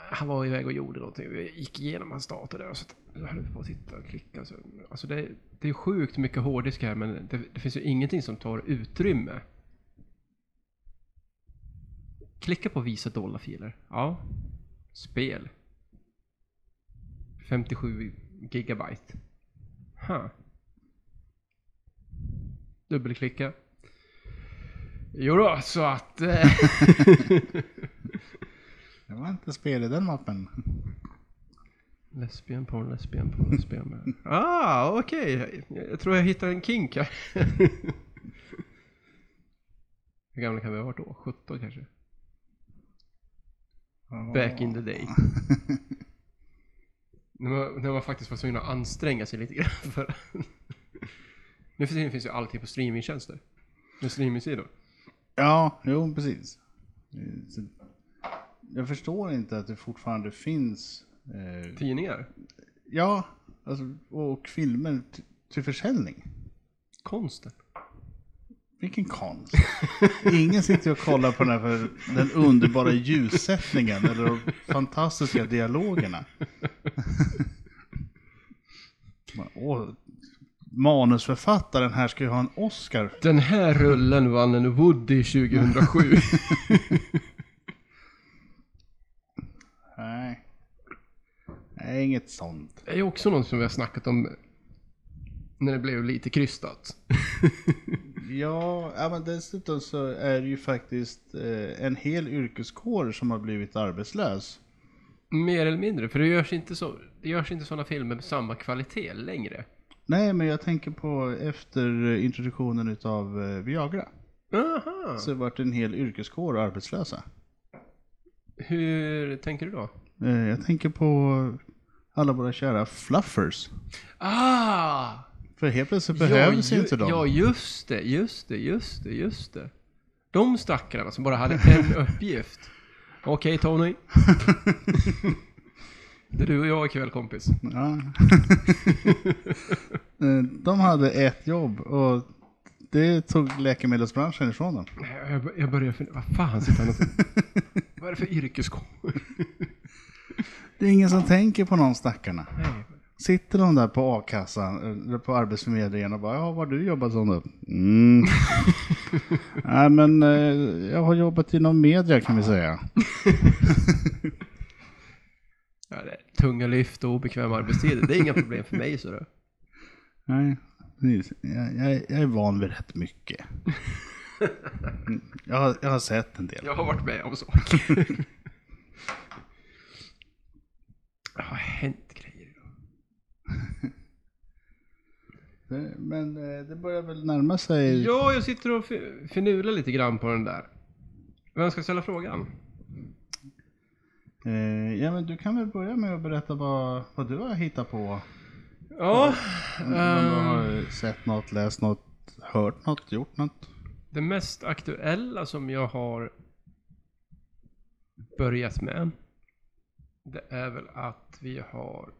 S1: han var iväg och gjorde någonting, vi gick igenom hans dator där och så så höll vi på att titta och klicka. Så, alltså det, det är sjukt mycket hårddisk här men det, det finns ju ingenting som tar utrymme. Klicka på visa dolda filer. Ja. Spel. 57 gigabyte. Huh. Dubbelklicka. Jo då, så att... Eh,
S2: Det var inte spel i den mappen.
S1: lesbian porn, lesbian porn, lesbian porn. Ah, okej. Jag, jag tror jag hittade en kink här. Hur gamla kan vi ha varit då? 17 kanske? Back in the day. när, man, när man faktiskt var tvungen att anstränga sig lite grann för Nu för tiden finns ju allting på streamingtjänster. Med streamingsidor.
S2: Ja, jo precis. Eh, så- Jag förstår inte att det fortfarande finns eh,
S1: Tidningar.
S2: Ja, alltså, och filmer t- till försäljning.
S1: Konsten.
S2: Vilken konst. Ingen sitter och kollar på den här för den underbara ljussättningen eller de fantastiska dialogerna. Man, åh, manusförfattaren här ska ju ha en Oscar.
S1: Den här rullen vann en Woody 2007.
S2: Nej. Nej, inget sånt.
S1: Det är ju också något som vi har snackat om när det blev lite krystat.
S2: Ja, ja men dessutom så är det ju faktiskt eh, en hel yrkeskår som har blivit arbetslös.
S1: Mer eller mindre, för det görs inte, så, det görs inte sådana filmer med samma kvalitet längre.
S2: Nej, men jag tänker på efter introduktionen utav eh, Viagra.
S1: Aha.
S2: Så vart en hel yrkeskår arbetslösa.
S1: Hur tänker du då?
S2: Eh, Jag tänker på alla våra kära fluffers.
S1: Ah!
S2: För helt plötsligt behövs
S1: ja, ju-
S2: inte de.
S1: Ja, just det, just det, just det, just det. De stackarna som bara hade en uppgift. Okej Tony. Det är du och jag ikväll kompis.
S2: Ja. Eh, de hade ett jobb och det tog läkemedelsbranschen ifrån dem.
S1: Jag, jag börjar fundera, vad fan sitter han och... Vad är det för yrkeskår?
S2: Det är ingen som tänker på de stackarna.
S1: Nej.
S2: Sitter de där på a-kassan, eh, eller på arbetsförmedlingen och bara ja, vad har du jobbat som då? Mm. Nej men eh, jag har jobbat inom media kan vi säga.
S1: Ja, det är tunga lyft och obekväma arbetstider, det är inga problem för mig så du.
S2: Nej, precis. jag, jag, jag är van vid rätt mycket. Mm, Jag har, jag har sett en del.
S1: Jag har varit med om saker. Det har hänt grejer.
S2: Det- Men eh, det börjar väl närma sig.
S1: Ja, jag sitter och fi- finurlar lite grann på den där. Vem ska ställa frågan?
S2: Eh, ja, men du kan väl börja med att berätta vad, vad du har hittat på.
S1: Ja,
S2: Om du
S1: Eh.
S2: har sett något, läst något, hört något, gjort något.
S1: det mest aktuella som jag har börjat med, det är väl att vi har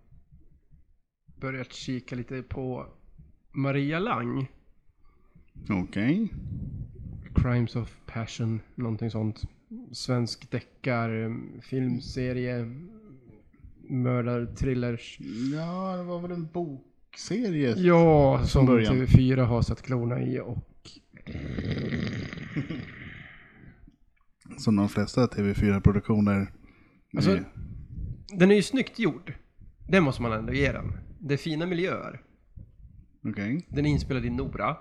S1: börjat kika lite på Maria Lang,
S2: Okej.
S1: Crimes of Passion, någonting sånt. Svensk deckar, eh, filmserie, mördarthrillers.
S2: Ja, det var väl en bokserie.
S1: Ja,
S2: från
S1: som
S2: början.
S1: TV4 har satt klorna i och
S2: Som de flesta TV4-produktioner.
S1: Alltså-
S2: är-
S1: Den är ju snyggt gjord. Det måste man ändå ge den. Det är fina miljöer.
S2: Okej.
S1: Den är inspelad i Nora.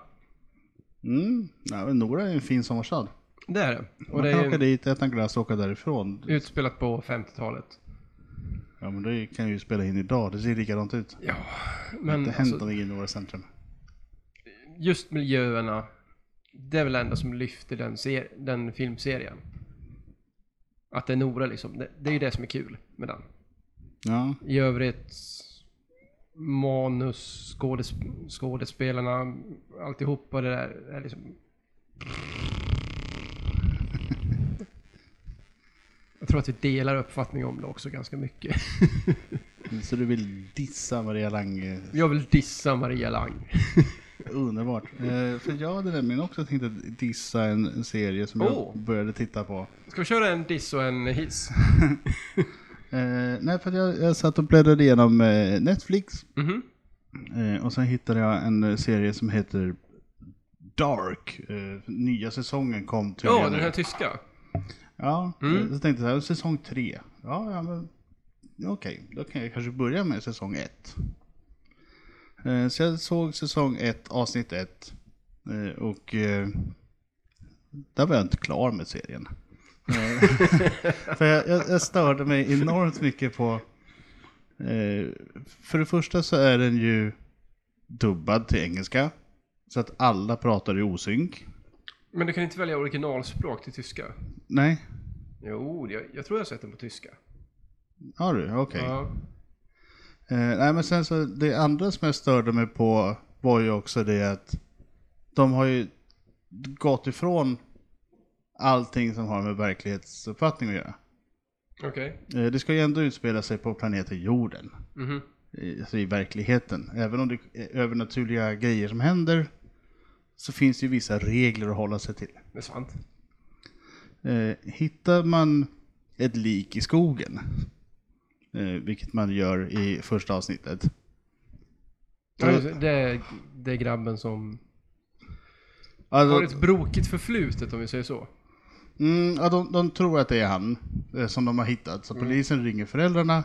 S2: Mm. Ja, men Nora är en fin sommarstad.
S1: Det är det. Och
S2: Man
S1: det
S2: kan åka
S1: är ju
S2: dit, äta en glass och åka därifrån.
S1: utspelat på 50-talet.
S2: Ja, men det kan jag ju spela in idag. Det ser likadant ut.
S1: Ja,
S2: Det
S1: men
S2: händer
S1: alltså,
S2: någonting i Nora centrum.
S1: just miljöerna. Det är väl det enda som lyfter den, ser- den filmserien. Att det är Nora liksom. Det, det är ju det som är kul med den.
S2: Ja.
S1: I övrigt manus, skådesp- skådespelarna, alltihopa det där är liksom... Jag tror att vi delar uppfattning om det också ganska mycket.
S2: Mm. Så du vill dissa Maria Lange
S1: Jag vill dissa Maria Lang.
S2: Underbart. Eh, för jag hade nämligen också tänkt att dissa en, en serie som
S1: Oh.
S2: jag började titta på.
S1: Ska vi köra en diss och en hiss?
S2: Eh, nej, för att jag, jag satt och bläddrade igenom eh, Netflix
S1: Mhm.
S2: eh, och sen hittade jag en eh, serie som heter Dark. Eh, nya säsongen kom tydligen
S1: Ja,
S2: nu.
S1: den här tyska.
S2: Ja, eh, så tänkte jag så här, säsong tre. Ja, ja men okej, då kan jag kanske börja med säsong ett. Eh, Så jag såg säsong ett, avsnitt ett. eh, Och eh, där var jag inte klar med serien. Eh, För jag, jag, jag störde mig enormt mycket på... eh, För det första så är den ju dubbad till engelska. Så att alla pratar i osynk.
S1: Men du kan inte välja originalspråk till tyska?
S2: Nej,
S1: Jo, jag, jag tror jag har sett den på tyska.
S2: har du? Okej.
S1: Ja.
S2: Eh, nej men sen så, det andra som jag störde mig på var ju också det att de har ju gått ifrån allting som har med verklighetsuppfattning att göra.
S1: Okej.
S2: Eh, det ska ju ändå utspela sig på planeten jorden,
S1: Mhm.
S2: i- alltså i verkligheten. Även om det är övernaturliga grejer som händer så finns det ju vissa regler att hålla sig till.
S1: Det är sant.
S2: Eh, hittar man ett lik i skogen, eh, vilket man gör i första avsnittet,
S1: Ja, just det. Det är, det är grabben som
S2: alltså-
S1: har ett brokigt förflutet om vi säger så.
S2: Mm, ja, de, de tror att det är han eh, som de har hittat. Så polisen ringer föräldrarna.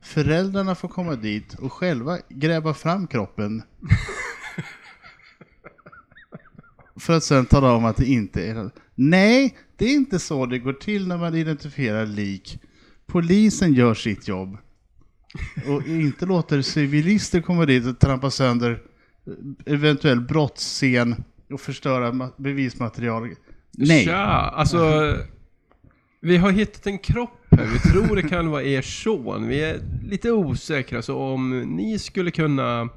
S2: Föräldrarna får komma dit och själva gräva fram kroppen. för att sen tala om att det inte är Nej, det är inte så det går till när man identifierar lik. Polisen gör sitt jobb. Och inte låter civilister komma dit och trampa sönder eh, eventuell brottsscen och förstöra ma- bevismaterial. Nej.
S1: Tja, alltså. Vi har hittat en kropp här. Vi tror det kan vara er son. Vi är lite osäkra, så om ni skulle kunna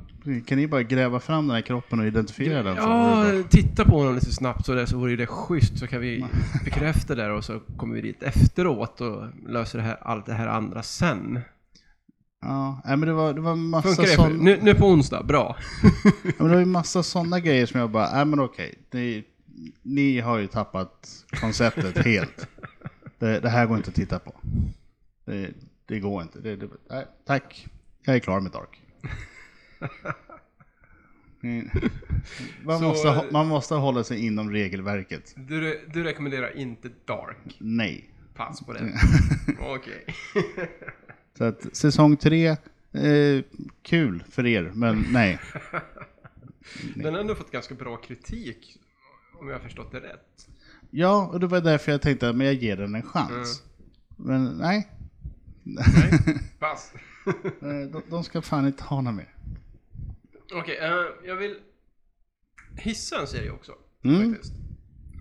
S2: Kan ni bara gräva fram den här kroppen och identifiera den? så vore
S1: Ja,
S2: det bra.
S1: titta på honom lite snabbt så, där, så vore ju det schysst så kan vi bekräfta det där och så kommer vi dit efteråt och löser det här, allt det här andra sen.
S2: ja. Nej, men det var, det var massa
S1: Funkar det? För,
S2: sån...
S1: nu, nu på onsdag, bra.
S2: Ja, men det var ju massa sådana grejer som jag bara, nej men okej, ni, ni har ju tappat konceptet helt. Det, det här går inte att titta på. Det, det går inte. Det, det, nej, tack, jag är klar med Dark. Mm. Man,
S1: Så-
S2: måste, hå- man måste hålla sig inom regelverket.
S1: Du, re- du rekommenderar inte Dark.
S2: Nej.
S1: Pass på det. Okej.
S2: Så att säsong tre, eh, kul för er, men nej.
S1: Den har ändå fått ganska bra kritik, om jag har förstått det rätt.
S2: Ja, och det var därför jag tänkte att men jag ger den en chans. Men nej,
S1: Nej, pass.
S2: Eh, De, de ska fan inte ha något mer.
S1: Okej, eh, jag vill hissa en serie också.
S2: Mm.
S1: Faktiskt.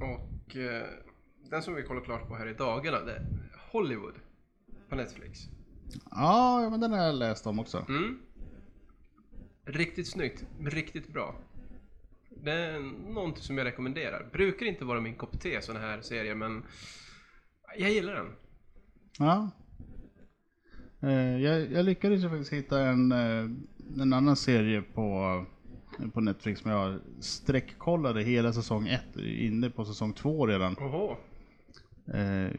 S1: Och eh, den som vi kollar klart på här i dagarna, det är Hollywood på Netflix.
S2: Ja, ja, men den har jag läst om också.
S1: Mm. Riktigt snyggt, riktigt bra. Det är någonting som jag rekommenderar. Brukar inte vara min kopp te sådana här serier, men jag gillar den.
S2: Ja. Eh, Jag, jag lyckades ju faktiskt hitta en, eh, en annan serie på, eh, på Netflix som jag sträckkollade hela säsong 1, inne på säsong 2 redan.
S1: Oho.
S2: Eh,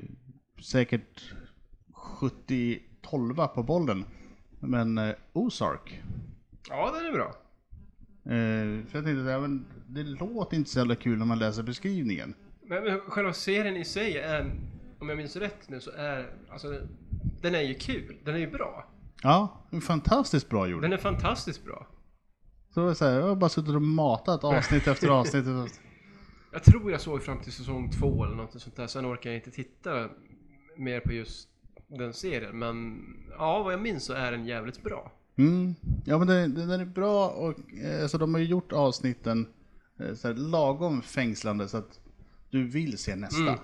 S2: säkert 70 12 på bollen. Men eh, Ozark.
S1: Ja, den är bra.
S2: Eh, för jag tänkte, att, ja, men det låter inte så jävla kul när man läser beskrivningen.
S1: Men men själva serien i sig är, om jag minns rätt nu, så är alltså, den är ju kul. Den är ju bra.
S2: Ja, den är fantastiskt bra gjord.
S1: Den är fantastiskt bra.
S2: Så det var så här, jag har bara suttit och matat avsnitt efter avsnitt. efter avsnitt.
S1: Jag tror jag såg fram till säsong två eller något sånt där, sen orkar jag inte titta mer på just den serien. Men ja, vad jag minns så är den jävligt bra.
S2: Mm. Ja men den, den den är bra och eh, alltså, de har ju gjort avsnitten eh, så här, lagom fängslande så att du vill se nästa.
S1: Mm.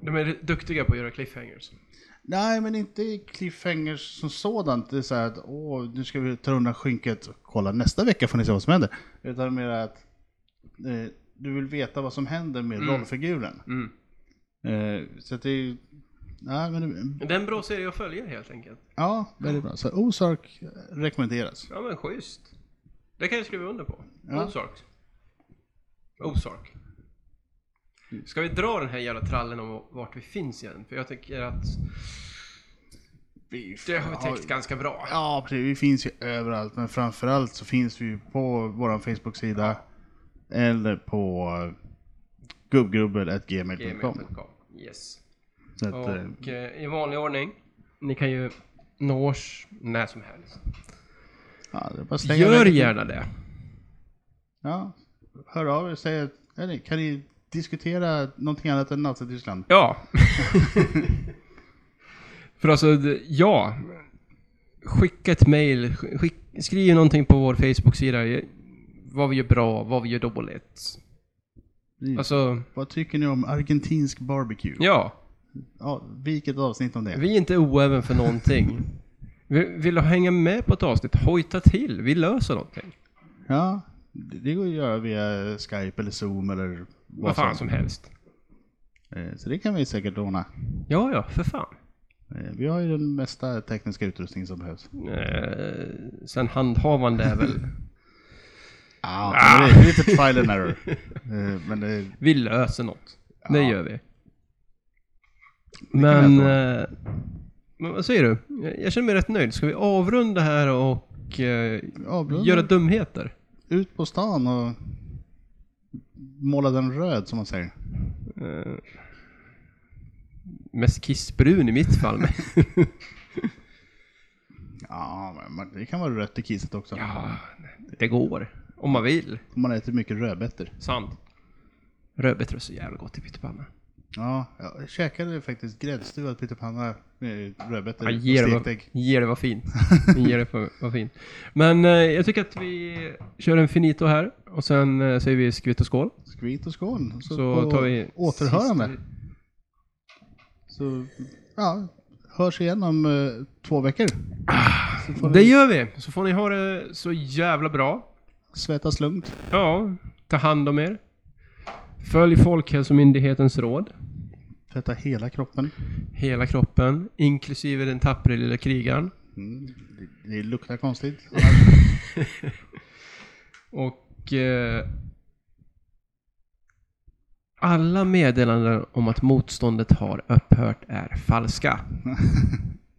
S1: De är duktiga på att göra cliffhangers.
S2: Nej men inte cliffhangers som sådant. Det är så här att åh, nu ska vi ta undan skynket. Kolla nästa vecka får ni se vad som händer. Utan mer att eh, du vill veta vad som händer med rollfiguren.
S1: Mm.
S2: Eh, så att det är ju... Nej, men,
S1: Men Det är en bra serie att följa helt enkelt.
S2: ja, väldigt bra. Så Ozark rekommenderas.
S1: Ja men schysst. Det kan jag skriva under på.
S2: Ja.
S1: Ozark. Ozark. Ska vi dra den här jävla trallen om vart vi finns igen? För jag tycker att
S2: Vi
S1: det har vi
S2: har-
S1: täckt ganska bra.
S2: Ja, precis. Vi finns ju överallt, men framförallt så finns vi ju på vår Facebook-sida eller på gubbgrubbel.gmail.com.
S1: Gmail.com. Yes.
S2: Så att, eh,
S1: Och eh, i vanlig ordning, ni kan ju nå oss när som helst.
S2: ja, det är bara att slänga
S1: Gör
S2: iväg.
S1: gärna det.
S2: Ja, hör av er och säg att, eller, kan ni diskutera någonting annat än Nazityskland?
S1: Ja. För alltså, d- ja. Skicka ett mail, skick, skriv någonting på vår Facebook-sida. eh, Vad vi gör bra, vad vi gör dåligt.
S2: Mm.
S1: Alltså,
S2: Vad tycker ni om argentinsk barbecue? Ja.
S1: ja.
S2: vilket avsnitt om det?
S1: Vi är inte oäven för någonting. Vi- Vill du hänga med på ett avsnitt? Hojta till, vi löser någonting.
S2: Ja, det det går att göra via Skype eller Zoom eller vad,
S1: Vad fan som helst.
S2: Eh, Så det kan vi säkert ordna.
S1: Ja, ja, för fan.
S2: Eh, Vi har ju den mesta tekniska utrustningen som behövs.
S1: Eh, sen handhavande är väl...
S2: Ja, men det är lite trial and error. Eh, Men det,
S1: Vi löser något. Det
S2: Ja.
S1: gör vi.
S2: jag
S1: Men,
S2: tro.
S1: eh, men vad säger du? Jag- Jag känner mig rätt nöjd. Ska vi avrunda här och eh,
S2: Avrunda?
S1: göra dumheter?
S2: ut på stan och måla den röd som man säger.
S1: Eh, mest kissbrun i mitt fall. men-
S2: Ja, men man- det kan vara rött i kisset också.
S1: ja, det går. Om man vill.
S2: Om man äter mycket rödbetor.
S1: Sant. Rödbetor är så jävla gott i pyttipanna.
S2: Ja, jag käkade faktiskt gräddstuvad pyttipanna med rödbetor
S1: Ja,
S2: och
S1: ge, det
S2: stekt
S1: vad,
S2: ägg.
S1: ge det vad fint. Ge det vad- vad fint. Men eh, jag tycker att vi kör en finito här och sen eh, säger vi skvitt och skål.
S2: Skvitt och skål. Så,
S1: Så
S2: på
S1: tar vi
S2: återhörande.
S1: sist-
S2: Så ja, hörs igen om eh, två veckor. Så får
S1: Det
S2: ni
S1: gör vi! Så får ni ha det så jävla bra.
S2: svettas lugnt.
S1: Ja, ta hand om er. Följ Folkhälsomyndighetens råd.
S2: Tvätta hela kroppen.
S1: Hela kroppen, inklusive den tappre lilla krigaren.
S2: Mm. Det, det luktar konstigt.
S1: Och... Eh, alla meddelanden om att motståndet har upphört är falska.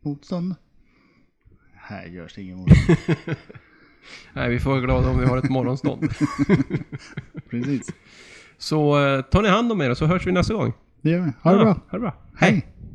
S2: Motstånd? Här görs ingen motstånd.
S1: Nej, vi får vara glada om vi har ett morgonstånd.
S2: Precis.
S1: Så eh, ta ni hand om er och så hörs vi nästa gång.
S2: Det gör vi. Ha det bra.
S1: Ha det bra.
S2: Hej.